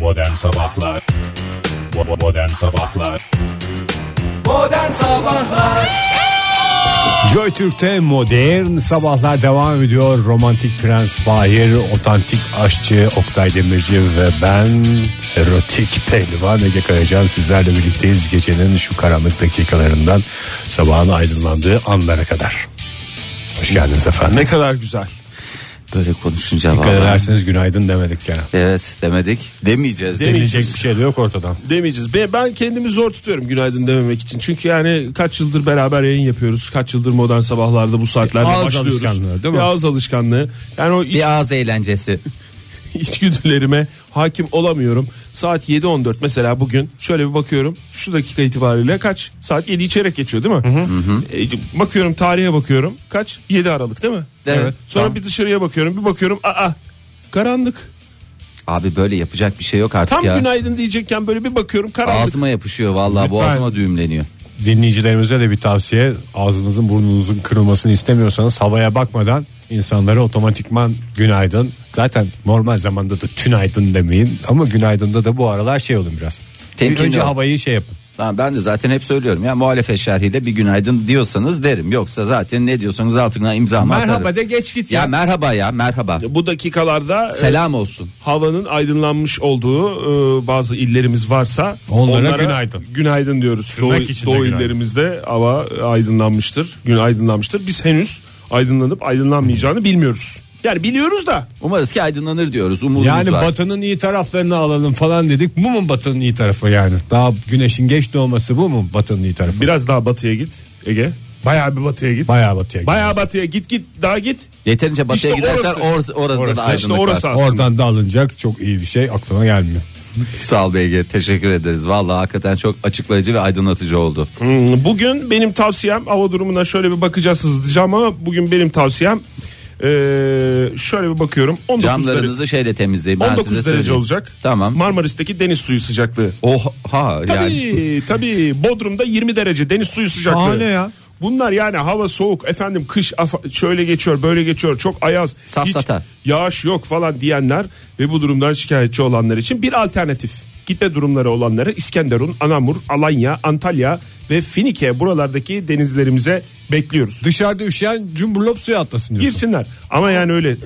Modern Sabahlar Bo- Modern Sabahlar Modern Sabahlar Joy Türk'te modern sabahlar devam ediyor. Romantik Prens Fahir, otantik aşçı Oktay Demirci ve ben erotik pehlivan Ege Kayacan sizlerle birlikteyiz. Gecenin şu karanlık dakikalarından sabahın aydınlandığı anlara kadar. Hoş geldiniz efendim. Ne kadar güzel. Böyle konuşunca Dikkat vallahi. ederseniz günaydın demedik gene. Evet demedik. Demeyeceğiz. de. Demeyeceğiz. Denilecek bir şey de yok ortadan. Demeyeceğiz. Ben, ben kendimi zor tutuyorum günaydın dememek için. Çünkü yani kaç yıldır beraber yayın yapıyoruz. Kaç yıldır modern sabahlarda bu saatlerde Bir ağız başlıyoruz. alışkanlığı, değil mi? Bir ağız alışkanlığı. Yani o iç, Bir ağız eğlencesi. içgüdülerime hakim olamıyorum. Saat 7.14 mesela bugün şöyle bir bakıyorum. Şu dakika itibariyle kaç? Saat 7 içerek geçiyor değil mi? E, bakıyorum tarihe bakıyorum. Kaç? 7 Aralık değil mi? Evet. Sonra Tamam. bir dışarıya bakıyorum. Bir bakıyorum. Aa karanlık. Abi böyle yapacak bir şey yok artık Tam ya. günaydın diyecekken böyle bir bakıyorum karanlık. Ağzıma yapışıyor vallahi boğazıma düğümleniyor. Dinleyicilerimize de bir tavsiye ağzınızın burnunuzun kırılmasını istemiyorsanız havaya bakmadan insanlara otomatikman günaydın. Zaten normal zamanda da tünaydın demeyin ama günaydında da bu aralar şey olun biraz. Temkinli Önce ol. havayı şey yapın. Lan ben de zaten hep söylüyorum ya muhalefet şerhiyle bir günaydın diyorsanız derim. Yoksa zaten ne diyorsanız altına imzamı atarım. Merhaba de geç git Ya, ya. merhaba ya merhaba. Bu dakikalarda e, Selam olsun. havanın aydınlanmış olduğu e, bazı illerimiz varsa Onlara günaydın. Günaydın diyoruz. Doğu, Tırnak içinde doğu günaydın. illerimizde hava e, aydınlanmıştır. Gün aydınlanmıştır. Biz henüz aydınlanıp aydınlanmayacağını bilmiyoruz. Yani biliyoruz da Umarız ki aydınlanır diyoruz. Umudumuz Yani var. batının iyi taraflarını alalım falan dedik. Bu mu batının iyi tarafı yani? Daha güneşin geç doğması bu mu batının iyi tarafı? biraz daha batıya git Ege. Bayağı bir batıya git. Bayağı batıya gidiyor. Bayağı batıya git git daha git. Yeterince batıya İşte gidersen or- orası. orada da Orası. aydınlık İşte orası var. aslında. Oradan da alınacak çok iyi bir şey aklıma gelmiyor. Sağ ol BG teşekkür ederiz. Vallahi hakikaten çok açıklayıcı ve aydınlatıcı oldu. Hmm, Bugün benim tavsiyem hava durumuna şöyle bir bakacağız hızlıca ama bugün benim tavsiyem e, şöyle bir bakıyorum. 19 derece- Camlarınızı şeyle temizleyin. Ben 19 size derece söyleyeyim. olacak. Tamam. Marmaris'teki deniz suyu sıcaklığı. Oha Tabii yani. tabii Bodrum'da 20 derece deniz suyu sıcaklığı. Şahane ya. Bunlar yani hava soğuk efendim kış afa- şöyle geçiyor böyle geçiyor çok ayaz Safsata. hiç yağış yok falan diyenler ve bu durumdan şikayetçi olanlar için bir alternatif gitme durumları olanları İskenderun, Anamur, Alanya, Antalya ve Finike buralardaki denizlerimize bekliyoruz. Dışarıda üşüyen cumburlop suya atlasın diyorsun. Girsinler ama yani öyle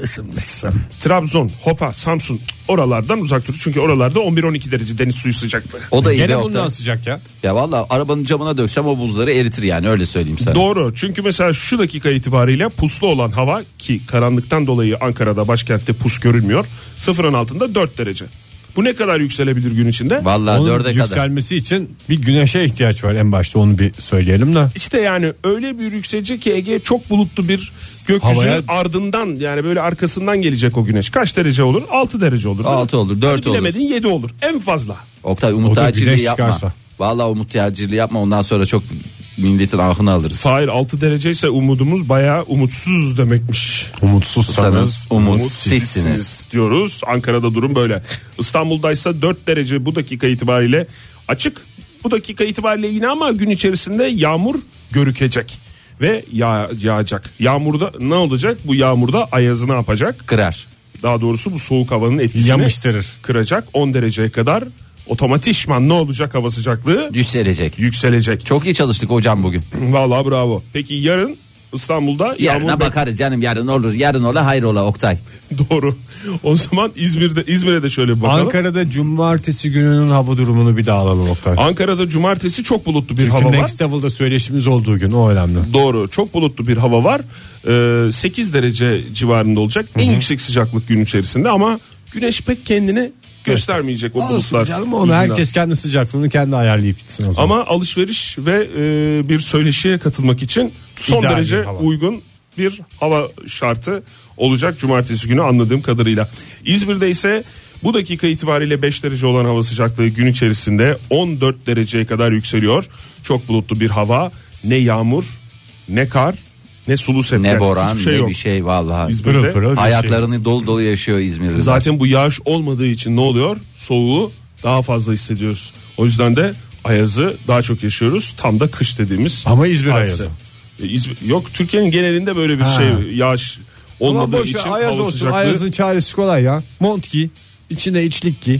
Trabzon, Hopa, Samsun oralardan uzak dur. Çünkü oralarda 11-12 derece deniz suyu sıcaklığı. O da iyi be Gene Oktay. bundan sıcak ya. Ya valla arabanın camına döksem o buzları eritir yani öyle söyleyeyim sana. Doğru çünkü mesela şu dakika itibariyle puslu olan hava ki karanlıktan dolayı Ankara'da başkentte pus görülmüyor. Sıfırın altında 4 derece. Bu ne kadar yükselebilir gün içinde? Valla Onun dörde kadar. yükselmesi için bir güneşe ihtiyaç var en başta onu bir söyleyelim de. İşte yani öyle bir yükselecek ki Ege çok bulutlu bir gökyüzünün Havaya- ardından yani böyle arkasından gelecek o güneş. Kaç derece olur? 6 derece olur. değil mi? Altı olur, dört Hadi bilemedin 7 olur en fazla. Oktay O umut da tacirliği güneş yapma. çıkarsa. Valla umut tacirliği yapma ondan sonra çok milletin ahını alırız. Fahir 6 derece ise umudumuz bayağı umutsuz demekmiş. Umutsuzsanız Sanız umutsizsiniz. diyoruz. Ankara'da durum böyle. İstanbul'daysa 4 derece bu dakika itibariyle açık. Bu dakika itibariyle yine ama gün içerisinde yağmur görükecek ve yağ, yağacak. Yağmurda ne olacak? Bu yağmurda ayazı ne yapacak? Kırar. Daha doğrusu bu soğuk havanın etkisini yamıştırır. kıracak. 10 dereceye kadar otomatikman ne olacak hava sıcaklığı? Yükselecek. Yükselecek. Çok iyi çalıştık hocam bugün. Vallahi bravo. Peki yarın İstanbul'da Yarına yağmur bakarız canım yarın olur. Yarın ola hayır ola Oktay. Doğru. O zaman İzmir'de İzmir'e de şöyle bir bakalım. Ankara'da cumartesi gününün hava durumunu bir daha alalım Oktay. Ankara'da cumartesi çok bulutlu bir Çünkü hava var. Next Level'da söyleşimiz olduğu gün o önemli. Doğru. Çok bulutlu bir hava var. Ee, 8 derece civarında olacak. En yüksek sıcaklık gün içerisinde ama güneş pek kendini göstermeyecek o bulutlar. onu yüzünden. herkes kendi sıcaklığını kendi ayarlayıp gitsin o zaman. Ama alışveriş ve e, bir söyleşiye katılmak için son İdeal bir derece hava. uygun bir hava şartı olacak cumartesi günü anladığım kadarıyla. İzmir'de ise bu dakika itibariyle 5 derece olan hava sıcaklığı gün içerisinde 14 dereceye kadar yükseliyor. Çok bulutlu bir hava. Ne yağmur, ne kar, ne sulu sepet. Ne boran Hiçbir şey ne yok. bir şey valla. İzmir'de Pırıl şey. pırıl. Hayatlarını dolu dolu yaşıyor İzmirliler. şey. zaten bu yağış olmadığı için ne oluyor? Soğuğu daha fazla hissediyoruz. O yüzden de ayazı daha çok yaşıyoruz. Tam da kış dediğimiz. Ama İzmir hadise. ayazı. E, İzmir- yok Türkiye'nin genelinde böyle bir Ha. şey yağış olmadığı Ama boş ver, için ayaz hava olsun sıcaklığı ayazın çaresi kolay ya. Mont giy içine içlik giy.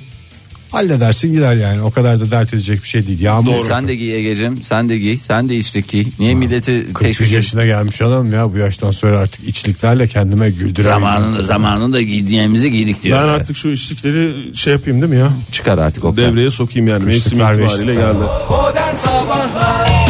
Halledersin gider yani. O kadar da dert edecek bir şey değil. Yağmur. Sen de giy Ege'cim sen de giy sen de içlik giy. Niye milleti 43 teşvik et? yaşına gelmiş adam ya bu yaştan sonra artık içliklerle kendime güldüremem. Zamanında zamanında giydiğimizi giydik diyor. Ben artık şu işlikleri şey yapayım değil mi ya? Çıkar artık o Devreye sokayım yani mevsim Kışlıklar ve itibariyle işlikler. geldi. Modern Sabahlar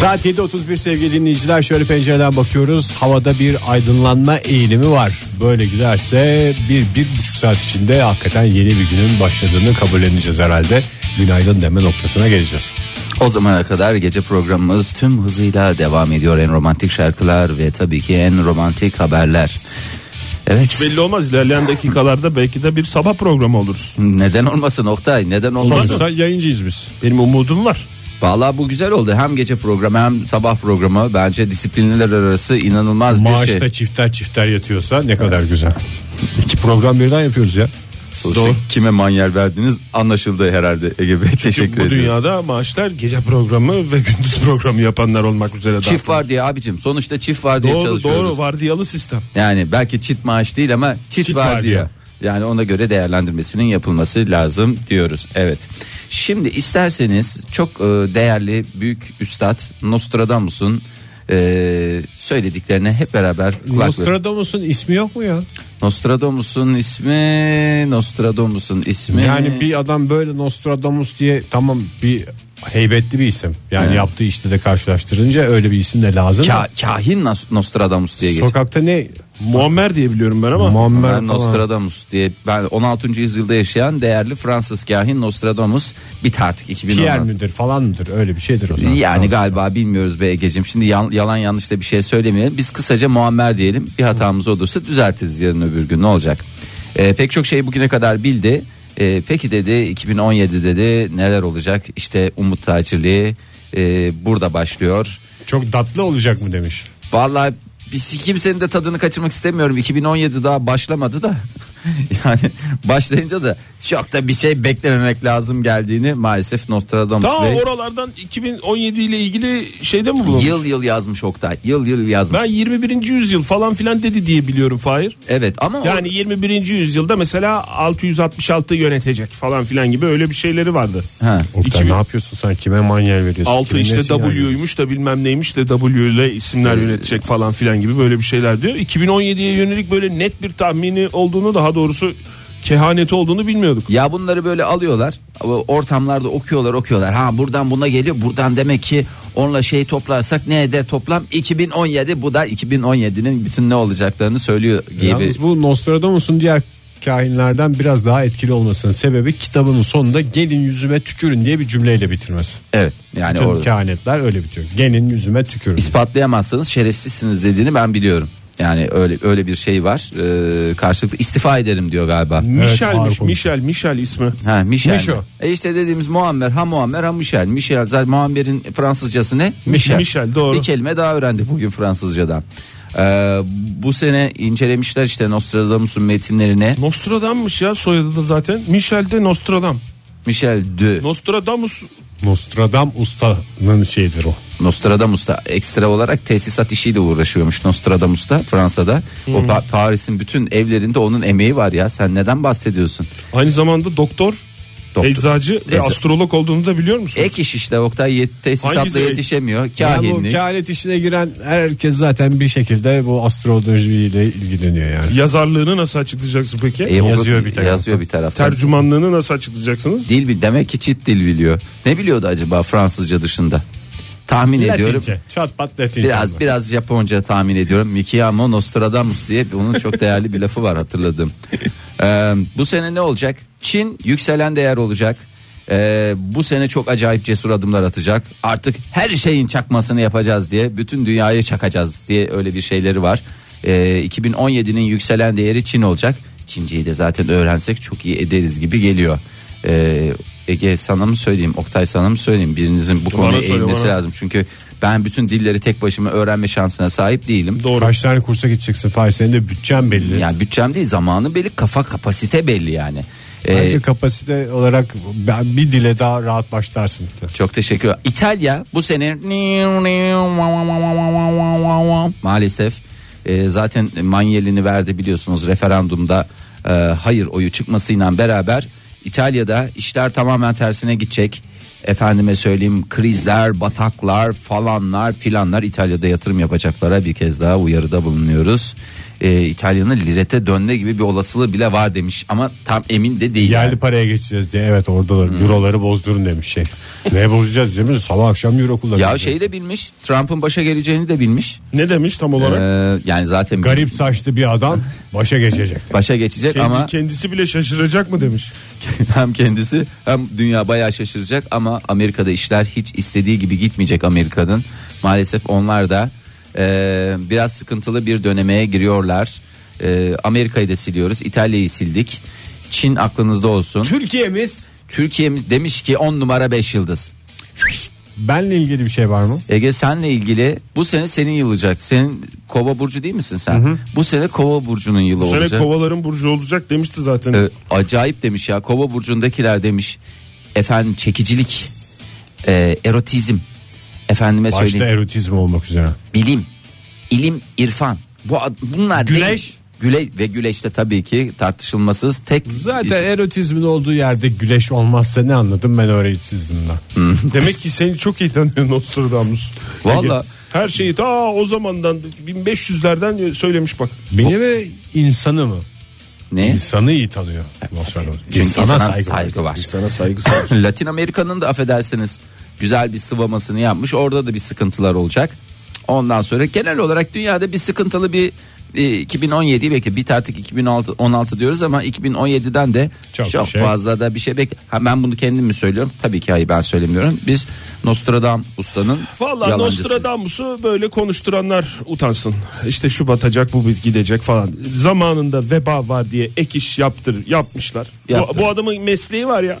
Saat 7.31 sevgili dinleyiciler şöyle pencereden bakıyoruz. Havada bir aydınlanma eğilimi var. Böyle giderse bir, bir buçuk saat içinde hakikaten yeni bir günün başladığını kabulleneceğiz herhalde. Günaydın deme noktasına geleceğiz. O zamana kadar gece programımız tüm hızıyla devam ediyor. En romantik şarkılar ve tabii ki en romantik haberler. Evet. Belli olmaz ilerleyen dakikalarda belki de bir sabah programı oluruz. Neden olmasın Oktay? Neden olmasın? Sonuçta yayıncıyız biz. Benim umudum var. Vallahi bu güzel oldu. Hem gece programı hem sabah programı bence disiplinler arası inanılmaz bir şey. Maaşta çifter çifter yatıyorsa ne kadar güzel. İki program birden yapıyoruz ya. Sonuçta Kime manyer verdiniz anlaşıldı herhalde Ege Bey. Teşekkür Bu ederim. dünyada maaşlar gece programı ve gündüz programı yapanlar olmak üzere. Çift dağıtılıyor. var diye abicim. Sonuçta çift var diye Doğru çalışıyoruz. doğru vardiyalı sistem. Yani belki çift maaş değil ama çift, Çift var var diye. diyor. Yani ona göre değerlendirmesinin yapılması lazım diyoruz. Evet. Şimdi isterseniz çok e, değerli büyük üstad Nostradamus'un e, söylediklerine hep beraber kulak verin. Nostradamus'un ismi yok mu ya? Nostradamus'un ismi Nostradamus'un ismi. Yani bir adam böyle Nostradamus diye tamam bir heybetli bir isim. Yani Evet. yaptığı işte de karşılaştırınca öyle bir isim de lazım. Ka- kahin Nas- Nostradamus diye geçiyor. Sokakta ne? Muammer diye biliyorum ben ama. Muammer falan. Ben Nostradamus diye ben 16. yüzyılda yaşayan değerli Fransız kahin Nostradamus bit artık 2010. Pierre müdür falan mıdır? Öyle bir şeydir o zaman. Yani Fransız. galiba bilmiyoruz be Ege'cim. Şimdi yan- yalan yanlış da bir şey söylemeyelim. Biz kısaca muammer diyelim. Bir hatamız olursa düzeltiriz yarın öbür gün ne olacak? Ee, pek çok şeyi bugüne kadar bildi. Ee, peki dedi 2017 dedi neler olacak? İşte Umut Tacirliği e, burada başlıyor. Çok tatlı olacak mı demiş. Vallahi biz kimsenin de tadını kaçırmak istemiyorum. 2017 daha başlamadı da. yani başlayınca da çok da bir şey beklememek lazım geldiğini maalesef Nostradamus Tamam Bey oralardan 2017 ile ilgili şeyde mi bulunmuş? yıl yıl yazmış Oktay. Yıl yıl yazmış. Ben 21. yüzyıl falan filan dedi diye biliyorum Fahir. Evet ama o- Yani 21. yüzyılda mesela 666 yönetecek falan filan gibi öyle bir şeyleri vardı. ha. Oktay 2000 ne yapıyorsun sen? Kime manyel veriyorsun? 6 Kimin işte nesin yani? W'ymuş da bilmem neymiş de W ile isimler Ee, yönetecek falan filan gibi böyle bir şeyler diyor. 2017'ye yönelik böyle net bir tahmini olduğunu daha doğrusu kehaneti olduğunu bilmiyorduk. ya bunları böyle alıyorlar ortamlarda okuyorlar okuyorlar ha buradan buna geliyor buradan demek ki onunla şey toplarsak ne eder toplam 2017 bu da 2017'nin bütün ne olacaklarını söylüyor gibi. Yalnız bu Nostradamus'un diğer kahinlerden biraz daha etkili olmasının sebebi kitabının sonunda gelin yüzüme tükürün diye bir cümleyle bitirmesi. Evet yani Tüm orada kehanetler öyle bitiyor. Gelin yüzüme tükürün. ispatlayamazsanız şerefsizsiniz dediğini ben biliyorum. Yani öyle öyle bir şey var. Ee, karşılıklı istifa ederim diyor galiba. ağır Michel'miş konuşuyor. Michel Michel ismi. Ha Michel. Mişo. mi? E işte dediğimiz Muammer ha Muammer ha Michel. Michel zaten Muammer'in Fransızcası ne? Michel, doğru. Bir kelime daha öğrendik bugün Fransızcadan. Ee, bu sene incelemişler işte Nostradamus'un metinlerini. Nostradam'mış ya soyadı da zaten. Michel de Nostradam. Michel de Nostradamus Nostradam ustanın şeyidir o. Nostradamus da ekstra olarak tesisat işiyle uğraşıyormuş Nostradamus da Fransa'da. O Hmm. Pa- Paris'in bütün evlerinde onun emeği var ya. Sen neden bahsediyorsun? aynı zamanda doktor, Doktor. eczacı ve Eczacı. astrolog olduğunu da biliyor musun? Ek iş işte Oktay yet- tesisatla Hangisi ek? yetişemiyor. Yani bu Kahinlik. kehanet işine giren herkes zaten bir şekilde bu astrolojiyle ilgileniyor yani. Yazarlığını nasıl açıklayacaksın peki? E, o- Yazıyor bir taraftan. Yazıyor bir taraftan. Tercümanlığını nasıl açıklayacaksınız? Dil bil demek ki çit dil biliyor. Ne biliyordu acaba Fransızca dışında? Tahmin ediyorum. Latince. Çat pat latince. Biraz biraz Japonca tahmin ediyorum. Mikiyamo Nostradamus diye onun çok değerli bir lafı var hatırladım. Ee, bu sene ne olacak? Çin yükselen değer olacak. Ee, bu sene çok acayip cesur adımlar atacak. Artık her şeyin çakmasını yapacağız diye bütün dünyayı çakacağız diye öyle bir şeyleri var. Ee, 2017'nin yükselen değeri Çin olacak. Çinceyi de zaten öğrensek çok iyi ederiz gibi geliyor. Ee, Ege sana mı söyleyeyim Oktay sana mı söyleyeyim birinizin bu konuya söyle, eğilmesi bana. lazım. Çünkü ben bütün dilleri tek başıma öğrenme şansına sahip değilim. Doğru. Kaç tane kursa gideceksin Fahir senin de bütçen belli. Yani bütçem değil zamanı belli kafa kapasite belli yani. Ee, Bence kapasite olarak ben bir dile daha rahat başlarsın. Çok teşekkür ederim. İtalya bu sene maalesef e, zaten manyelini verdi biliyorsunuz referandumda e, hayır oyu çıkmasıyla beraber İtalya'da işler tamamen tersine gidecek. Efendime söyleyeyim krizler, bataklar falanlar filanlar İtalya'da yatırım yapacaklara bir kez daha uyarıda bulunuyoruz. E, İtalya'nın lirete dönme gibi bir olasılığı bile var demiş ama tam emin de değil. Yerli paraya geçeceğiz diye evet oradalar. Hmm. Euroları bozdurun demiş şey. ne bozacağız demiş sabah akşam euro kullanacağız. Ya şey- şeyi de bilmiş. Trump'ın başa geleceğini de bilmiş. Ne demiş tam olarak? Ee, yani zaten Garip saçlı bir adam başa geçecek. başa geçecek Kendi- ama Kendisi bile şaşıracak mı demiş. hem kendisi hem dünya bayağı şaşıracak ama Amerika'da işler hiç istediği gibi gitmeyecek Amerika'nın. Maalesef onlar da e, biraz sıkıntılı bir dönemeye giriyorlar. E, Amerika'yı da siliyoruz, İtalya'yı sildik. Çin aklınızda olsun. Türkiye'miz Türkiye demiş ki 10 numara 5 yıldız. Benle ilgili bir şey var mı? Ege senle ilgili bu sene senin yılacak. Senin Kova burcu değil misin sen? Bu sene Kova burcunun yılı Bu sene olacak. kovaların burcu olacak demişti zaten. Ee, acayip demiş ya kova burcundakiler demiş efendim çekicilik e, erotizm efendime Başta söyleyeyim erotizm olmak üzere. bilim ilim irfan bu ad- bunlar Güneş. değil. Güle ve güleşte tabii ki tartışılmasız tek Zaten erotizmin olduğu yerde güleş olmazsa ne anladım ben öğretisizmden. Demek ki seni çok iyi tanıyor Nostradamus. Valla. Ege, Her şeyi ta o zamandan 1500'lerden söylemiş bak. Beni ve insanı mı? ne İnsanı iyi tanıyor. Nostradamus. İnsana insana saygı var. saygı var. Sana saygısı var. Latin Amerika'nın da affedersiniz güzel bir sıvamasını yapmış. Orada da bir sıkıntılar olacak. Ondan sonra genel olarak dünyada bir sıkıntılı bir e, 2017 belki bir artık 2016 diyoruz ama 2017'den de Çok çok, bir şey. fazla da bir şey bekle. Ha, ben bunu kendim mi söylüyorum? Tabii ki hayır ben söylemiyorum. Biz Nostradam ustanın Valla yalancısı. Nostradamus'u böyle konuşturanlar utansın. İşte şu batacak bu bit gidecek falan. Zamanında veba var diye ek iş yaptır yapmışlar. Bu, Yaptır. bu adamın mesleği var ya.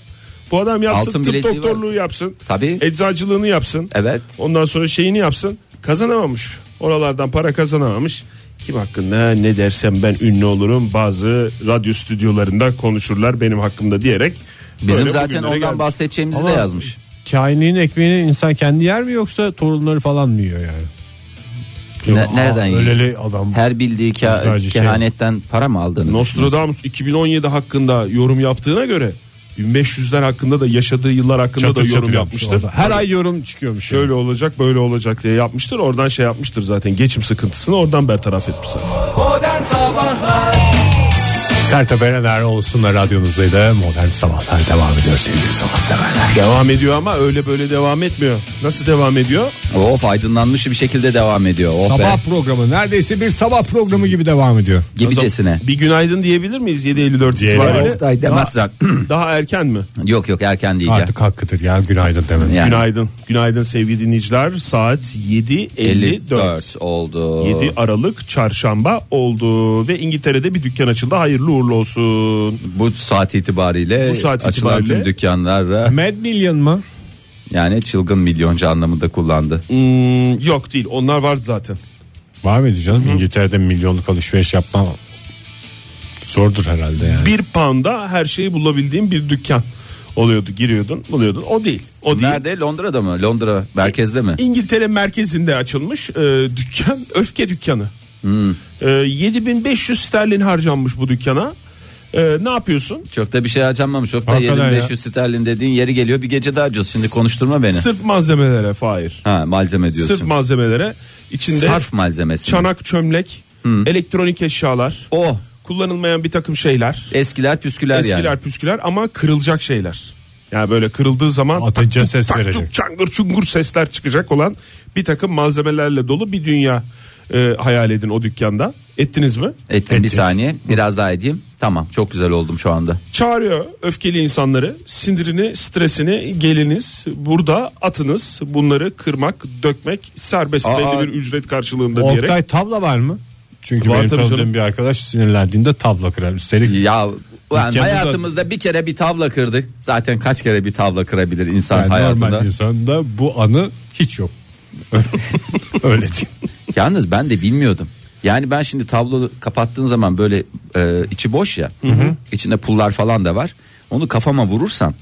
Bu adam yapsın Altın tıp bileziği var. doktorluğu yapsın. Tabii. Eczacılığını yapsın. Evet. Ondan sonra şeyini yapsın. Kazanamamış. Oralardan para kazanamamış. Kim hakkında ne dersem ben ünlü olurum. Bazı radyo stüdyolarında konuşurlar benim hakkımda diyerek. Bizim böyle zaten bugünlere ondan gelmiş. bahsedeceğimizi de Ama- yazmış. Kainliğin ekmeğini insan kendi yer mi yoksa torunları falan mı yiyor yani? Ne- Yok, nereden aa, yiyecek? Öleli adam. Her bildiği ka- Güzelce şey- kehanetten para mı aldığını Nostradamus 2017 hakkında yorum yaptığına göre 1500'ler hakkında da yaşadığı yıllar hakkında Çatır da çatır yorum yapmış yapmıştır. orada. Her ay yorum çıkıyormuş. Şöyle olacak böyle olacak diye yapmıştır. Oradan şey yapmıştır zaten geçim sıkıntısını oradan bertaraf etmiş zaten. Modern Sabahlar Sertab Erener olsunlar radyonuzdaydı. Modern Sabahlar devam ediyor sevgili sabah severler. Devam ediyor ama öyle böyle devam etmiyor. Nasıl devam ediyor? Of aydınlanmış bir şekilde devam ediyor. Oh be. Sabah programı neredeyse bir sabah programı gibi devam ediyor. Gibicesine. Bir günaydın diyebilir miyiz 7.54 Diyelim. itibariyle? Oktay demezsen. Daha erken mi? yok yok erken değil. ya. Artık hakkıdır ya günaydın demedim. Yani. Günaydın. Günaydın sevgili dinleyiciler. Saat 7.54. 54 oldu. 7 Aralık çarşamba oldu ve İngiltere'de bir dükkan açıldı. Hayırlı uğurlu olsun. Bu saat itibariyle Bu saat açılan itibariyle- tüm dükkanlara Mad Million mı? yani çılgın milyoncu anlamında kullandı. Hmm, yok değil. Onlar vardı zaten. Var mıydı canım? İngiltere'de milyonluk alışveriş yapma zordur herhalde yani. Bir pound'a her şeyi bulabildiğin bir dükkan oluyordu. Giriyordun, buluyordun. O değil. O değil. Nerede? Londra'da mı? Londra merkezde mi? İngiltere merkezinde açılmış e, dükkan, öfke dükkanı. Hmm. E, 7500 sterlin harcanmış bu dükkana. E, ne yapıyorsun? Çok da bir şey harcanmamış. Çok da Hakikaten ya. 7500 sterlin dediğin yeri geliyor. Bir gece daha harcıyorsun. Şimdi konuşturma beni. Sırf malzemelere Fahir. ha malzeme diyorsun. Sırf malzemelere. içinde Sarf Hmm. malzemesi. çanak, çömlek, elektronik eşyalar, Oh kullanılmayan bir takım şeyler, eskiler püsküler eskiler yani. püsküler ama kırılacak şeyler. Yani böyle kırıldığı zaman Atınca ses tak verecek. tuk çangır çungur sesler çıkacak olan bir takım malzemelerle dolu bir dünya e, hayal edin o dükkanda. Ettiniz mi? Ettim bir saniye. Biraz daha edeyim. Tamam çok güzel oldum şu anda. Çağırıyor öfkeli insanları. Sindirini, stresini geliniz burada atınız. Bunları kırmak, dökmek serbest Aa, belli bir ücret karşılığında diyerek. Oktay tavla var mı? Çünkü Var benim tabii tanıdığım canım. bir arkadaş sinirlendiğinde tavla kırar. Üstelik Ya Ulan Dükkanı da- hayatımızda bir kere bir tavla kırdık. Zaten kaç kere bir tavla kırabilir insan Yani hayatında. normal insanda bu anı hiç yok. Öyle diyeyim. Yalnız ben de bilmiyordum. Yani ben şimdi tablo kapattığın zaman böyle e, içi boş ya. içinde pullar falan da var. Onu kafama vurursam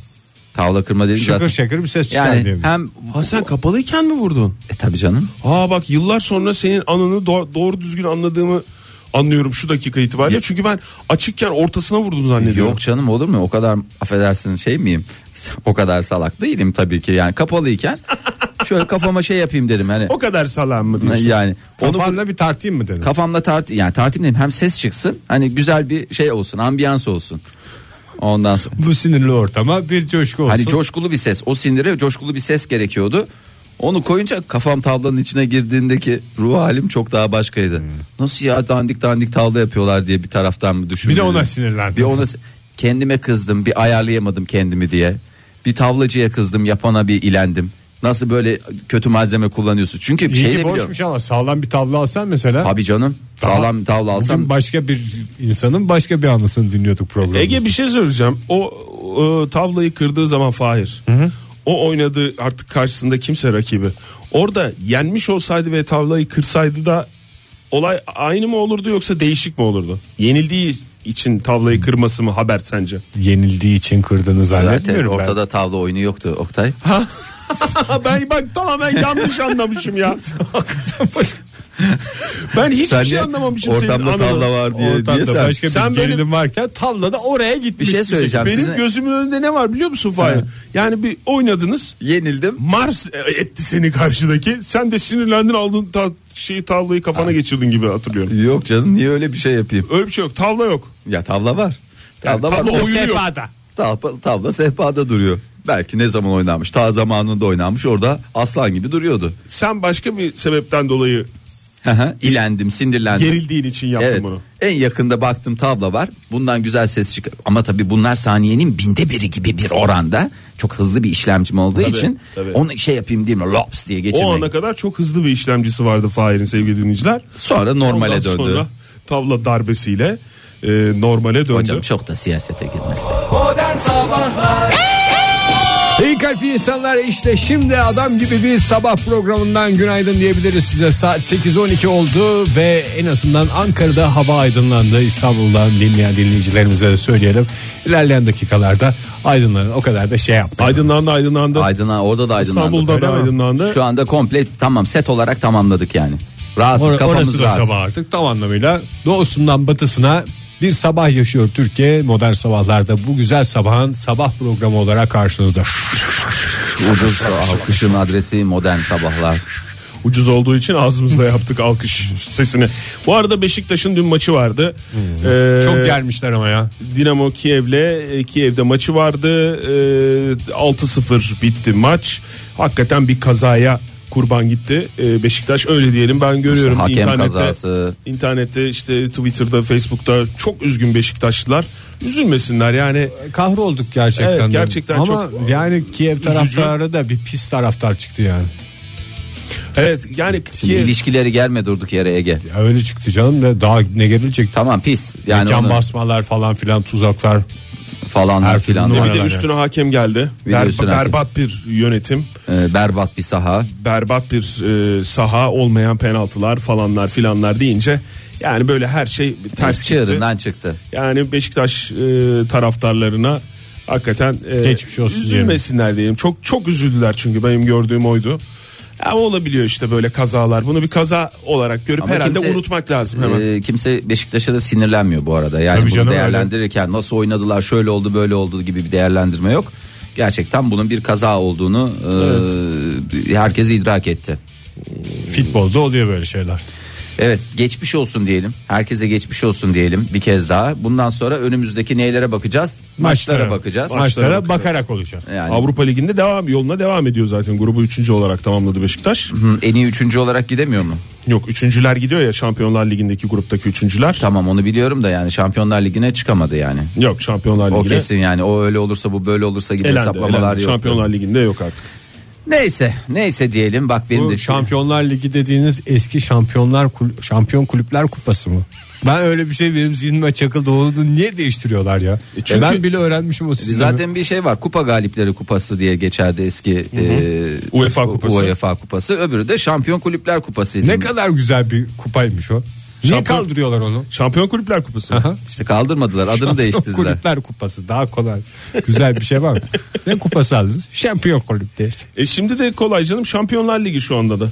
tavla kırma dedim Şakır zaten. şakır bir ses çıkar Yani diyebilirim. hem Ha sen kapalıyken mi vurdun? e, tabii canım. Ha bak yıllar sonra senin anını do- doğru düzgün anladığımı anlıyorum şu dakika itibariyle. Çünkü ben açıkken ortasına vurdun zannediyorum. Yok canım olur mu? O kadar affedersin şey miyim? O kadar salak değilim tabii ki. Yani kapalıyken şöyle kafama şey yapayım dedim hani. O kadar salam mı diyorsun? Yani onu Kafanla bir tartayım mı dedim. kafamla tart yani tartayım dedim hem ses çıksın. Hani güzel bir şey olsun, ambiyans olsun. Ondan sonra bu sinirli ortama bir coşku olsun. Hani coşkulu bir ses. O sindire coşkulu bir ses gerekiyordu. Onu koyunca kafam tavlanın içine girdiğindeki ruh halim çok daha başkaydı. Hmm. Nasıl ya dandik dandik tavla yapıyorlar diye bir taraftan mı düşündüm. Bir de ona sinirlendim. Bir ona kendime kızdım, bir ayarlayamadım kendimi diye. Bir tavlacıya kızdım, yapana bir ilendim. Nasıl böyle kötü malzeme kullanıyorsun? Çünkü bir İyi şey ki de biliyorum. boşmuş ama sağlam bir tavla alsan mesela. Abi canım, Daha- sağlam tavla alsam Bugün başka bir insanın başka bir anısını dinliyorduk programımızda. Ege bir şey söyleyeceğim. O, e, tavlayı kırdığı zaman Fahir. O oynadığı artık karşısında kimse rakibi. Orada yenmiş olsaydı ve tavlayı kırsaydı da olay aynı mı olurdu yoksa değişik mi olurdu? Yenildiği için tavlayı kırması mı haber sence? yenildiği için kırdığını zaten zannetmiyorum ortada tavla oyunu yoktu Oktay. Ha, ben bak tamamen yanlış anlamışım ya. ben hiçbir Sen şey de anlamamışım senin ortamda anını. tavla var ben. diye, Ortada diye sen- başka sen bir benim- gerilim varken tavla da oraya gitmiş. Bir şey söyleyeceğim. Benim Sizin- gözümün önünde ne var biliyor musun Fahir? Yani bir oynadınız. yenildim. Mars e, etti seni karşıdaki. Sen de sinirlendin aldın ta- şeyi tavlayı kafana geçirdin gibi hatırlıyorum. Yok canım niye öyle bir şey yapayım? Öyle bir şey yok. Tavla yok. Ya tavla var. Yani Tavla tavla var. oyunu yok. Tavla, tavla sehpada duruyor. Belki ne zaman oynanmış? Ta zamanında oynanmış. Orada aslan gibi duruyordu. Sen başka bir sebepten dolayı Hı hı, İlendim, sindirlendim. gerildiğin için yaptın Evet. bunu. En yakında baktım tavla var. Bundan güzel ses çıkar. Ama tabii bunlar saniyenin binde biri gibi bir oranda. Çok hızlı bir işlemcim olduğu için tabii. onu şey yapayım değil mi? Lops diye O geçirmek. ana kadar çok hızlı bir işlemcisi vardı Fahir'in sevgili dinleyiciler. Sonra normale Ondan döndü. Sonra tavla darbesiyle e, normale döndü. Hocam çok da siyasete girmezsin. Modern Sabahlar İyi kalpli insanlar işte şimdi adam gibi bir sabah programından günaydın diyebiliriz size. Saat 8.12 oldu ve en azından Ankara'da hava aydınlandı. İstanbul'dan dinleyen dinleyicilerimize de söyleyelim. İlerleyen dakikalarda aydınlanın. O kadar da şey yapma. Aydınlandı aydınlandı. Aydın'a orada da aydınlandı. İstanbul'da Öyle da mi? aydınlandı. Şu anda komple tamam set olarak tamamladık yani. Rahatız Or- kafamız orası da rahat. sabah artık tam anlamıyla doğusundan batısına bir sabah yaşıyor Türkiye modern sabahlarda bu güzel sabahın sabah programı olarak karşınızda. Ucuz alkışın adresi modern sabahlar. Ucuz olduğu için ağzımızla yaptık alkış sesini. Bu arada Beşiktaş'ın dün maçı vardı. Ee, Çok gelmişler ama ya. Dinamo Kiev'le e, Kiev'de maçı vardı. Ee, 6-0 bitti maç. Hakikaten bir kazaya kurban gitti. Ee, Beşiktaş öyle diyelim ben görüyorum İşte hakem internette. kazası. internette, işte Twitter'da, Facebook'ta çok üzgün Beşiktaşlılar. Üzülmesinler yani. Kahrolduk gerçekten. Evet, de. gerçekten Ama çok yani Kiev taraftarı da bir pis taraftar çıktı yani. Evet yani Şimdi Kiev ilişkileri gelme durduk yere Ege. Ya öyle çıktı canım da daha ne gerilecek. Tamam pis. Yani Can onu basmalar falan filan tuzaklar. falanlar Her filan. türlü bir numara. de yani. üstüne hakem geldi. Bir de Berba- üstüne hakem. berbat bir yönetim. Ee, berbat bir saha. berbat bir e, saha olmayan penaltılar falanlar filanlar deyince yani böyle her şey ters gitti. Çığırından çıktı. Yani Beşiktaş e, taraftarlarına hakikaten e, Geçmiş olsun üzülmesinler diyeyim. Çok çok üzüldüler çünkü benim gördüğüm oydu. Ya olabiliyor işte böyle kazalar. Bunu bir kaza olarak görüp Ama herhalde kimse- unutmak lazım hemen. Ee, kimse Beşiktaş'a da sinirlenmiyor bu arada. Yani Tabii bunu canım, öyle. değerlendirirken nasıl oynadılar, şöyle oldu, böyle oldu gibi bir değerlendirme yok. Gerçekten bunun bir kaza olduğunu e, herkes idrak etti. Futbolda oluyor böyle şeyler. Evet geçmiş olsun diyelim. Herkese geçmiş olsun diyelim bir kez daha. Bundan sonra önümüzdeki neylere bakacağız? Maçlara, bakacağız. Maçlara, bakarak olacağız. Yani Avrupa Ligi'nde devam yoluna devam ediyor zaten. Grubu üçüncü olarak tamamladı Beşiktaş. hı, en iyi üçüncü olarak gidemiyor mu? Yok üçüncüler gidiyor ya Şampiyonlar Ligi'ndeki gruptaki üçüncüler. Tamam onu biliyorum da yani Şampiyonlar Ligi'ne çıkamadı yani. Yok Şampiyonlar O Ligi'ne. kesin yani o öyle olursa bu böyle olursa gibi Elendi, hesaplamalar elendi. yok. Şampiyonlar Ligi'nde yok artık. Neyse neyse diyelim bak benim de Bu Şampiyonlar Ligi dediğiniz eski şampiyonlar kul- şampiyon kulüpler kupası mı? Ben öyle bir şey benim zihnime çakıldı. Onu niye değiştiriyorlar ya? çünkü- E ben bile öğrenmişim o sistemi. Zaten bir şey var kupa galipleri kupası diye geçerdi eski e, UEFA U- kupası. UEFA kupası öbürü de şampiyon kulüpler kupasıydı. Ne kadar güzel bir kupaymış o. Niye Şampiyon- kaldırıyorlar onu? Şampiyon Kulüpler Kupası. İşte kaldırmadılar adını Şampiyon değiştirdiler. Kulüpler kupası daha kolay. Güzel bir şey var mı? ne kupası aldınız? Şampiyon kulüpleri. E şimdi de kolay canım Şampiyonlar Ligi şu anda da.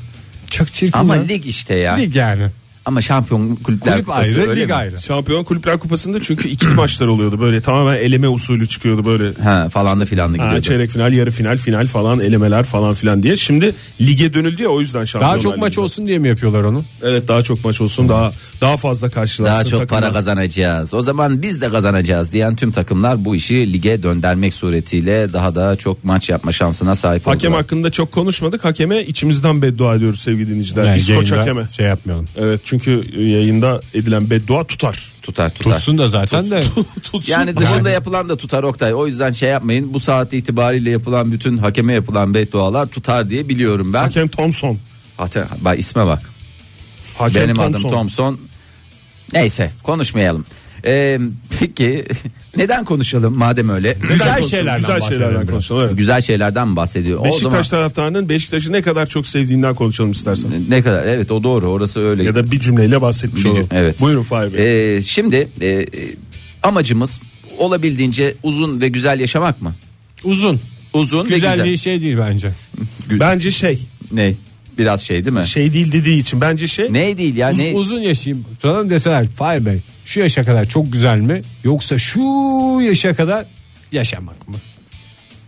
Çok çirkin Ama ya. lig işte ya. Lig yani. Ama şampiyon kulüpler Kulüp kupası ayrı, öyle lig mi? ayrı. Şampiyon Kulüpler Kupası'nda çünkü iki maçlar oluyordu böyle tamamen eleme usulü çıkıyordu böyle. Ha, falan da filan da Ha, gidiyordu. çeyrek final, yarı final, final falan, elemeler falan filan diye. Şimdi lige dönüldü ya o yüzden şampiyonlar Daha çok maç Ligi'nde. olsun diye mi yapıyorlar onu? Evet daha çok maç olsun, daha daha fazla karşılaşsın. Daha çok takımlar. para kazanacağız. O zaman biz de kazanacağız diyen tüm takımlar bu işi lige döndürmek suretiyle daha da çok maç yapma şansına sahip Hakem oldular. hakkında çok konuşmadık. Hakeme içimizden beddua ediyoruz sevgili dinleyiciler. Yani Biz koç yayında hakeme. Şey yapmayalım. Evet çünkü yayında edilen beddua tutar. Tutar tutar. Tutsun da zaten de. Tutsun. Yani dışında yapılan da tutar Oktay. O yüzden şey yapmayın. Bu saat itibariyle yapılan bütün hakeme yapılan beddualar tutar diye biliyorum ben. Hakem Thompson. Hatem, bak isme bak. Hakem Benim Thompson. adım Thompson. Neyse konuşmayalım. Ee, peki neden konuşalım madem öyle? Güzel konuşalım, şeylerden güzel bahsedelim şeylerden biraz. konuşalım. Evet. Güzel şeylerden mi bahsediyor. Beşiktaş o zaman taraftarının Beşiktaş'ı ne kadar çok sevdiğinden konuşalım istersen. ne kadar evet o doğru orası öyle. Ya da bir cümleyle bahsetmiş Bir olalım. cüm- evet. Buyurun Fahir Bey. Ee, şimdi e, e, amacımız olabildiğince uzun ve güzel yaşamak mı? Uzun. Uzun ve Güzelliği güzel. şey değil bence. bence şey, Ne? Biraz şey değil mi? şey değil dediği için bence şey. Ne değil ya Uz- ne? Uzun yaşayayım. Sana deseler Fahir Bey şu yaşa kadar çok güzel mi? Yoksa şu yaşa kadar yaşamak mı?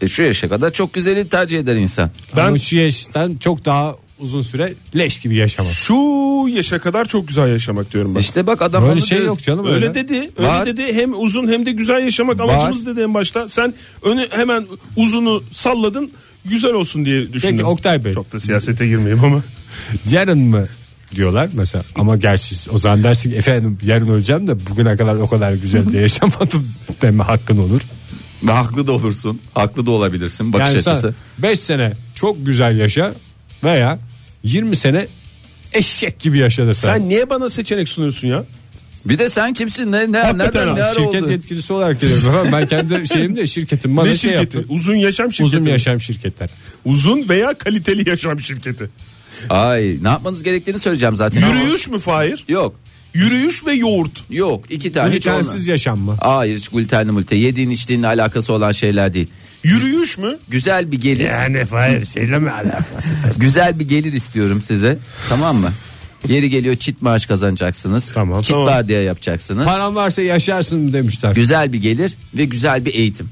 E, şu yaşa kadar çok güzeli tercih eder insan. Ben- Ben Ama şu yaştan çok daha uzun süre leş gibi yaşamak. Şu yaşa kadar çok güzel yaşamak diyorum ben. İşte bak adam Böyle onu şey diyor. yok canım Öyle öyle. dedi. Var. Öyle dedi. Hem uzun hem de güzel yaşamak Var. amacımız dedi en başta. Sen önü hemen uzunu salladın. Güzel olsun diye düşündüm. Peki Oktay Bey. Çok da siyasete girmeyeyim ama. Yarın mı diyorlar mesela ama gerçi o zaman dersin ki, efendim yarın öleceğim de bugüne kadar o kadar güzel de yaşamadım deme hakkın olur. Ve haklı da olursun. Haklı da olabilirsin bakış Yani açısı. sen 5 sene çok güzel yaşa veya 20 sene eşek gibi yaşa desen. Sen niye bana seçenek sunuyorsun ya? Bir de sen kimsin? Ne ne Hakikaten nereden abi, ne ara şirket oldu? yetkilisi olarak geliyorum efendim. Ben kendi şeyim de şirketim bana ne şey şirketi? yaptı. Uzun yaşam şirketi. Uzun mi? yaşam şirketler. Uzun veya kaliteli yaşam şirketi. Ay ne yapmanız gerektiğini söyleyeceğim zaten. Yürüyüş mü Fahir? Yok. Yürüyüş ve yoğurt. Yok. iki tane hiç Ülkensiz olmaz. yaşam mı? Hayır hiç glutenli multe. Yediğin içtiğinle alakası olan şeyler değil. Yürüyüş mü? Güzel bir gelir. Yani hayır şeyle mi alakası? Güzel bir gelir istiyorum size. Tamam mı? Yeri geliyor çit maaş kazanacaksınız. Tamam, çit tamam. vardiya yapacaksınız. Paran varsa yaşarsın demişler. Güzel bir gelir ve güzel bir eğitim.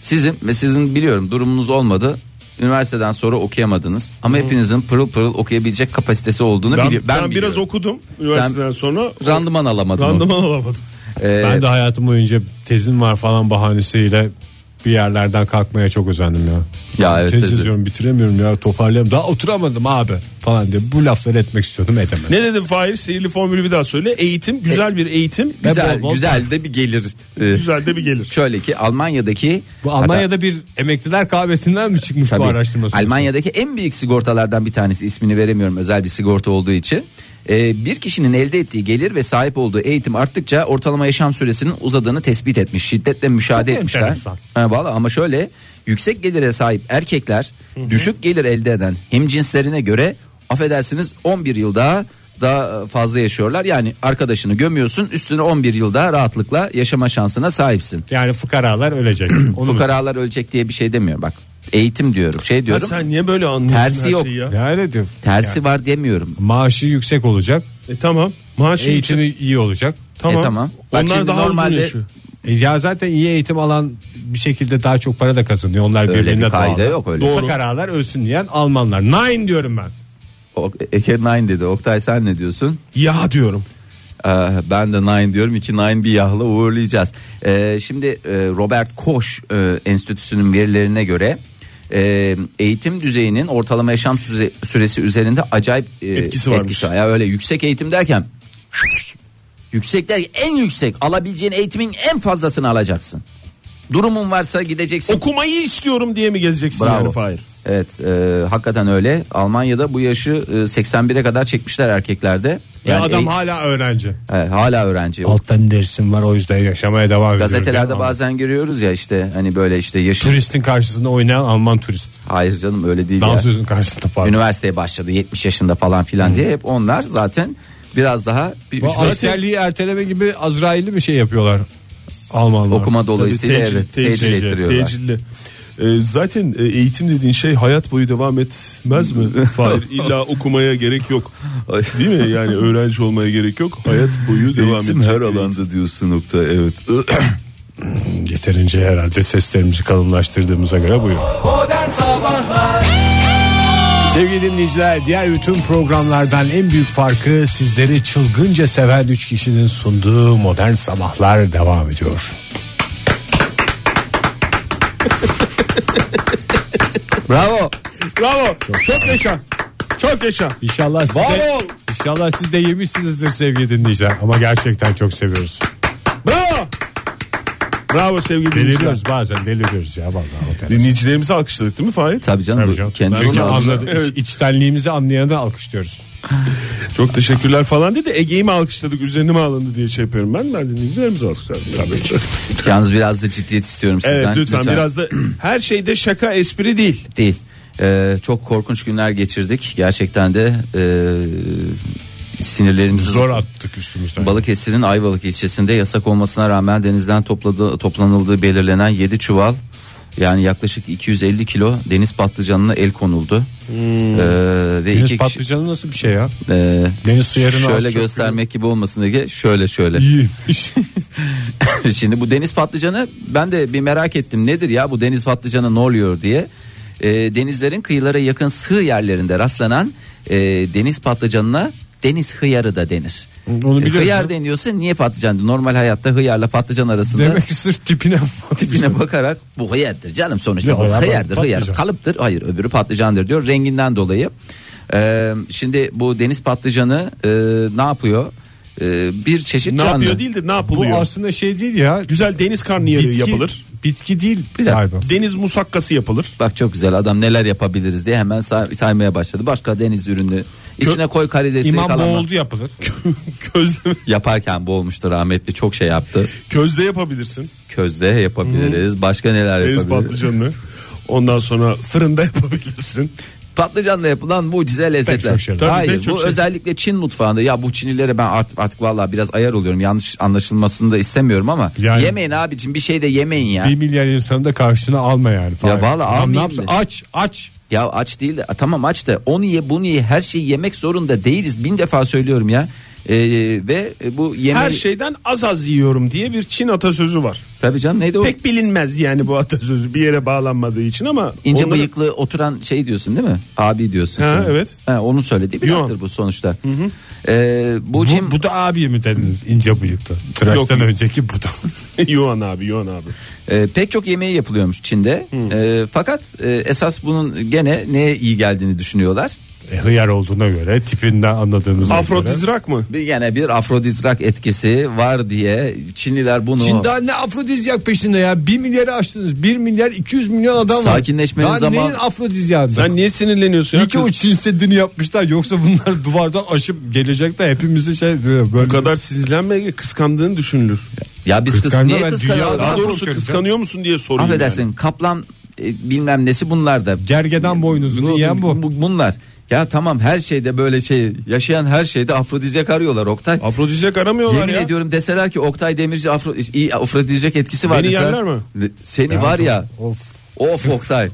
Sizin ve sizin biliyorum durumunuz olmadı. Üniversiteden sonra okuyamadınız. Ama hepinizin pırıl pırıl okuyabilecek kapasitesi olduğunu Hmm. Ben, biliyorum. ben biraz okudum üniversiteden sonra. Randıman alamadım. Randıman alamadım. Ee, Ben de hayatım boyunca tezim var falan bahanesiyle bir yerlerden kalkmaya çok özendim ya. Ya evet, Tez tez- yazıyorum bitiremiyorum ya toparlayamıyorum. Daha oturamadım abi falan diye bu lafları etmek istiyordum edemedim. Ne dedim Fahir? Sihirli formülü bir daha söyle. Eğitim, güzel bir eğitim. güzel, E- bol bol- güzel de bir gelir. Ee, Güzel de bir gelir. şöyle ki Almanya'daki Bu Almanya'da bir emekliler kahvesinden mi çıkmış bu Tabii. araştırma sonucu? Almanya'daki en büyük sigortalardan bir tanesi ismini veremiyorum özel bir sigorta olduğu için. Ee, bir kişinin elde ettiği gelir ve sahip olduğu eğitim arttıkça ortalama yaşam süresinin uzadığını tespit etmiş. Şiddetle müşahede Çok etmişler. enteresan. Ha, valla ama şöyle yüksek gelire sahip erkekler düşük gelir elde eden hem cinslerine göre affedersiniz 11 yıl daha daha fazla yaşıyorlar. Yani arkadaşını gömüyorsun üstüne 11 yıl daha rahatlıkla yaşama şansına sahipsin. Yani fukaralar ölecek. Onu mu? Fukaralar ölecek diye bir şey demiyorum bak. Eğitim diyorum şey Ya diyorum. sen niye böyle anlıyorsun Tersi her yok. şeyi ya? Ya öyle diyor. Tersi var demiyorum. Maaşı yüksek olacak. E tamam. Maaş Eğitimi iyi olacak. Tamam. E, tamam. Bak Onlar şimdi daha normalde- uzun yaşıyor. E Ya zaten iyi eğitim alan bir şekilde daha çok para da kazanıyor. Onlar Öyle bir birbirine kaide bağlı. yok, öyle. Doğru. Fukaralar ölsün diyen Almanlar. Nine diyorum ben. O- Eke Nine dedi. Oktay sen ne diyorsun? Ya diyorum. Ee, ben de Nine diyorum. İki Nine bir yahla uğurlayacağız. Ee, şimdi e, Robert Koch e, Enstitüsü'nün verilerine göre e, eğitim düzeyinin ortalama yaşam süze- süresi üzerinde acayip e, Etkisi varmış. var. Ya öyle yüksek eğitim derken yüksek der en yüksek alabileceğin eğitimin en fazlasını alacaksın. Durumun varsa gideceksin. Okumayı istiyorum diye mi gezeceksin Bravo. yani Fahir? Evet e, hakikaten öyle. Almanya'da bu yaşı e, 81'e kadar çekmişler erkeklerde. Ve adam e- hala öğrenci. e, hala öğrenci. O Alttan dersim var o yüzden yaşamaya devam ediyor. Gazetelerde bazen görüyoruz ya işte hani böyle işte yaşı. Turistin karşısında oynayan Alman turist. Hayır canım öyle değil ya. Dansözün karşısında pardon. Üniversiteye başladı 70 yaşında falan filan diye hep onlar zaten biraz daha bir, Bu zaten askerliği erteleme gibi Azrail'i bir şey yapıyorlar. Almanlar. okuma dolayısıyla Tabii evet tecil- tecil tecil- ettiriyorlar. tecilli. Ee, zaten e, eğitim dediğin şey hayat boyu devam etmez mi? Fahir illa okumaya gerek yok. Değil mi? Yani öğrenci olmaya gerek yok. Hayat boyu devam edecek. alanda diyorsun nokta evet. Yeterince herhalde seslerimizi kalınlaştırdığımıza göre buyur. Modern Sabahlar Sevgili dinleyiciler diğer bütün programlardan en büyük farkı sizleri çılgınca seven 3 kişinin sunduğu modern sabahlar devam ediyor. Bravo. Bravo. Çok yaşa. Çok yaşa. İnşallah siz de, Bravo. inşallah siz de yemişsinizdir sevgili dinleyiciler ama gerçekten çok seviyoruz. Bravo. Bravo sevgili dinleyiciler. Deliriyoruz bazen deliriyoruz ya vallahi. Dinleyicilerimizi alkışladık değil mi Fahir? Tabii canım, Tabii bu canım. kendi Çünkü zamanında- anladı. Evet. İçtenliğimizi anlayanı da alkışlıyoruz. Çok teşekkürler falan dedi. Ege'yi mi alkışladık üzerine mi alındı diye şey yapıyorum ben. Ben dinleyicilerimizi alkışladım. Tabii ki. Yalnız biraz da ciddiyet istiyorum sizden. Evet lütfen, biraz da her şeyde şaka espri değil. değil. Ee, çok korkunç günler geçirdik. Gerçekten de e, sinirlerimizi Zor attık üstümüzden. Balıkesir'in Ayvalık ilçesinde yasak olmasına rağmen denizden topladığı, toplanıldığı belirlenen 7 çuval yani yaklaşık 250 kilo deniz patlıcanına el konuldu. Ee, ve Hmm. Deniz iki kişi- patlıcanı nasıl bir şey ya? ee, Deniz sıyarını az şöyle çok göstermek gibi olmasın diye şöyle şöyle. İyiymiş. Şimdi bu deniz patlıcanı ben de bir merak ettim nedir ya bu deniz patlıcanı ne oluyor diye. Ee, denizlerin kıyılara yakın sığ yerlerinde rastlanan e, deniz patlıcanına deniz hıyarı da denir. Onu E, biliyorum. Hıyar deniyorsa niye patlıcan? Normal hayatta hıyarla patlıcan arasında Demek ki sırf tipine bakmışlar. tipine bakarak bu hıyardır canım sonuçta Ya, bu hıyar hıyardır hıyar patlıcan. kalıptır hayır öbürü patlıcandır diyor renginden dolayı. Ee, şimdi bu deniz patlıcanı e, ne yapıyor? Ee, bir çeşit E, Ne canlı. yapıyor değil de ne Bu yapılıyor? aslında şey değil ya. Güzel deniz karnıyarığı yapılır. Bitki değil dakika. galiba. Deniz musakkası yapılır. Bak çok güzel adam neler yapabiliriz diye hemen say- saymaya başladı. Başka deniz ürünü. içine koy karidesi İmam kalamar. boğuldu yapılır. Közde, Yaparken boğulmuştu rahmetli çok şey yaptı. közde yapabilirsin. Közde yapabiliriz. Başka neler Deniz yapabiliriz? patlıcanını. Ondan sonra fırında yapabilirsin. Patlıcanla yapılan mucize lezzetler. çok şey. Tabii, Hayır pek çok bu şey. özellikle Çin mutfağında ya bu Çinlilere ben artık, artık vallahi biraz ayar oluyorum. Yanlış anlaşılmasını da istemiyorum ama Yani- yemeyin abicim bir şey de yemeyin ya. Bir milyar insanı da karşına alma yani. Fahir. vallahi Adam ne almayayım yapsın? da. Aç aç. Ya aç değil de a, tamam aç da onu ye bunu ye her şeyi yemek zorunda değiliz. Bin defa söylüyorum ya. Ee, ve bu yemeği Her şey- şeyden az az yiyorum diye bir Çin atasözü var. tabii canım neydi o Pek bilinmez yani bu atasözü bir yere bağlanmadığı için ama İnce onları- bıyıklı oturan şey diyorsun değil mi? Abi diyorsun. Ha, sen. evet. Ha, onun söylediği bir Yo. laftır bu sonuçta. Ee, bu, Bu, cim, bu da abi mi dediniz ince bıyıklı. Tıraştan önceki bu da. Yuan abi, Yuan abi. e, pek çok yemeği yapılıyormuş Çin'de. E, fakat e, esas bunun gene neye iyi geldiğini düşünüyorlar. E, hıyar olduğuna göre tipinden anladığımız göre. Afrodizrak mı? Bir gene bir afrodizyak etkisi var diye Çinliler bunu Çin daha ne afrodizyak peşinde ya. 1 milyarı aştınız. 1 milyar 200 milyon adam var. Sakinleşmenin daha zamanı- neyin afrodizyağında? Sen niye sinirleniyorsun? ya? İyi ki o Çin Seddi'ni yapmışlar. Yoksa bunlar duvardan aşıp gelecek de hepimizi şey böyle. Bu kadar sinirlenme kıskandığın düşünülür. ya biz kız, Kıskanma niye ben kıskanıyoruz? dünyada- Daha Abi, doğrusu korkuyorum kıskanıyor musun diye sorayım. Affedersin yani. kaplan e, bilmem nesi bunlar da. Gergedan boynuzunu yiyen bu. Bu- Bunlar. Ya tamam her şeyde böyle şey yaşayan her şeyde afrodizyak arıyorlar Oktay. Afrodizyak aramıyorlar Yemin ya. ediyorum deseler ki Oktay Demirci afro, iyi afrodizyak etkisi var Beni deseler- yerler mi? Le- Seni var ya Of. of Oktay.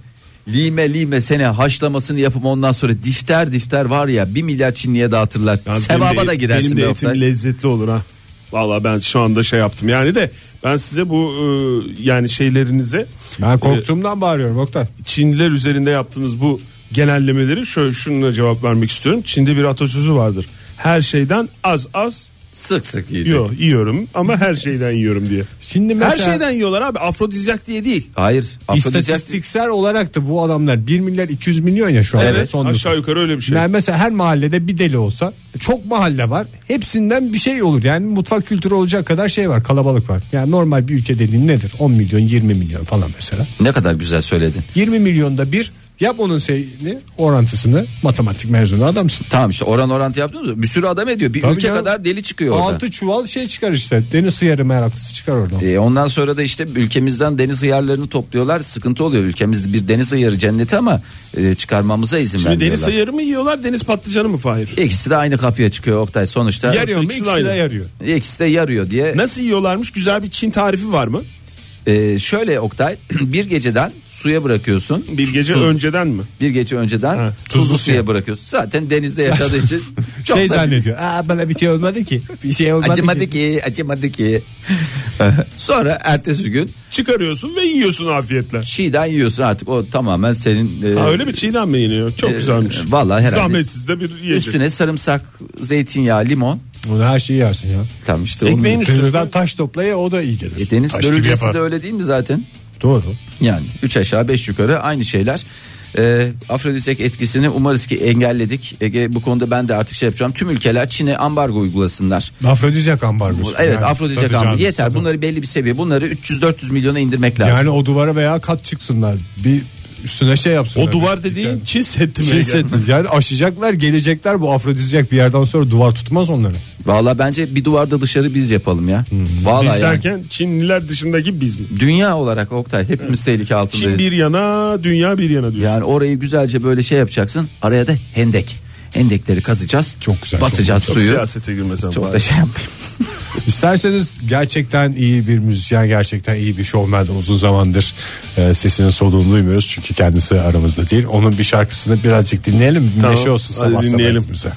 Lime lime seni haşlamasını yapıp ondan sonra difter difter var ya bir milyar Çinliye dağıtırlar. Ya benim Sevaba de- da girersin Benim de be etim Oktay. lezzetli olur ha. Valla ben şu anda şey yaptım yani de ben size bu e, yani şeylerinize Ben korktuğumdan bağırıyorum Oktay. Çinliler üzerinde yaptığınız bu genellemeleri şöyle şununla cevap vermek istiyorum. Çin'de bir atasözü vardır. Her şeyden az az Sık sık yiyecek. Yo, yiyorum ama her şeyden yiyorum diye. Şimdi mesela Her şeyden yiyorlar abi afrodizyak diye değil. Hayır. afrodizyak- istatistiksel olarak da bu adamlar 1 milyar 200 milyon ya şu anda Evet, son nüfus. Aşağı yukarı öyle bir şey. Yani mesela her mahallede bir deli olsa çok mahalle var. Hepsinden bir şey olur. Yani mutfak kültürü olacak kadar şey var, kalabalık var. Yani normal bir ülke dediğin nedir? 10 milyon, 20 milyon falan mesela. Ne kadar güzel söyledin. 20 milyonda bir yap onun şeyini, orantısını. Matematik mezunu adamsın. Tamam işte oran orantı yaptınız mı? Bir sürü adam ediyor. Bir Tabii ülke canım. kadar deli çıkıyor orada. 6 çuval şey çıkar işte. Deniz sıyarı meraklısı çıkar oradan. E, ondan sonra da işte ülkemizden deniz hıyarlarını topluyorlar. Sıkıntı oluyor. Ülkemizde bir deniz hıyarı cenneti ama e, çıkarmamıza izin Şimdi vermiyorlar. deniz sayarı mı yiyorlar deniz patlıcanı mı Fahir? İkisi de aynı kapıya çıkıyor Oktay. Sonuçta Yarıyor mu? İkisi de İkisi de aynı. yarıyor. ikisi de yarıyor diye. Nasıl yiyorlarmış güzel bir Çin tarifi var mı? E, şöyle Oktay bir geceden suya bırakıyorsun. Bir gece Tuz- önceden mi? Bir gece önceden Ha, tuzlu, tuzlu suya bırakıyorsun. Zaten denizde yaşadığı için çok şey da- zannediyor. Aa bana bir şey olmadı ki. Bir şey olmadı Acımadı ki. ki, acımadı ki. Sonra ertesi gün Çıkarıyorsun ve yiyorsun afiyetle. çiğden yiyorsun artık o tamamen senin e, Ha, öyle mi çiğden mi yeniyor? Çok e, güzelmiş. vallahi herhalde- Zahmetsiz de bir yiyecek. üstüne sarımsak, zeytinyağı, limon. Bunu her şeyi yersin ya. Tam işte Ekmeğin onun- üstüne- Denizden taş toplaya o da iyi gelir. E, deniz Taş gibi börülcesi yapar. de öyle değil mi zaten? Doğru. Yani 3 aşağı 5 yukarı aynı şeyler. E, afrodizyak etkisini umarız ki engelledik. Ege bu konuda ben de artık şey yapacağım. Tüm ülkeler Çin'e ambargo uygulasınlar. Afrodizyak ambargosu. Evet Yani afrodizyak satacağınız ambargo yeter. sana. Bunları belli bir seviye. Bunları 300-400 milyona indirmek lazım. Yani o duvara veya kat çıksınlar. Bir üstüne şey yapsınlar. O duvar dediğin Çin Seddi mi? Şey hissettim. yani aşacaklar gelecekler bu afrodizyak bir yerden sonra duvar tutmaz onları. Vallahi bence bir duvarda dışarı biz yapalım ya. Vallahi Biz yani. derken Çinliler dışındaki biz mi? Dünya olarak Oktay hepimiz tehlike altındayız. Çin bir yana, dünya bir yana diyorsun. Yani orayı güzelce böyle şey yapacaksın. Araya da hendek. Hendekleri kazacağız. Çok güzel, çok Basacağız Çok suyu. siyasete girmesen. Çok bari. da şey yapmayayım. İsterseniz gerçekten iyi bir müzisyen, gerçekten iyi bir şovmen de uzun zamandır e, sesinin soluğunu duymuyoruz. Çünkü kendisi aramızda değil. Onun bir şarkısını birazcık dinleyelim. Tamam, Neşe olsun hadi sabah sabah dinleyelim. hepimize.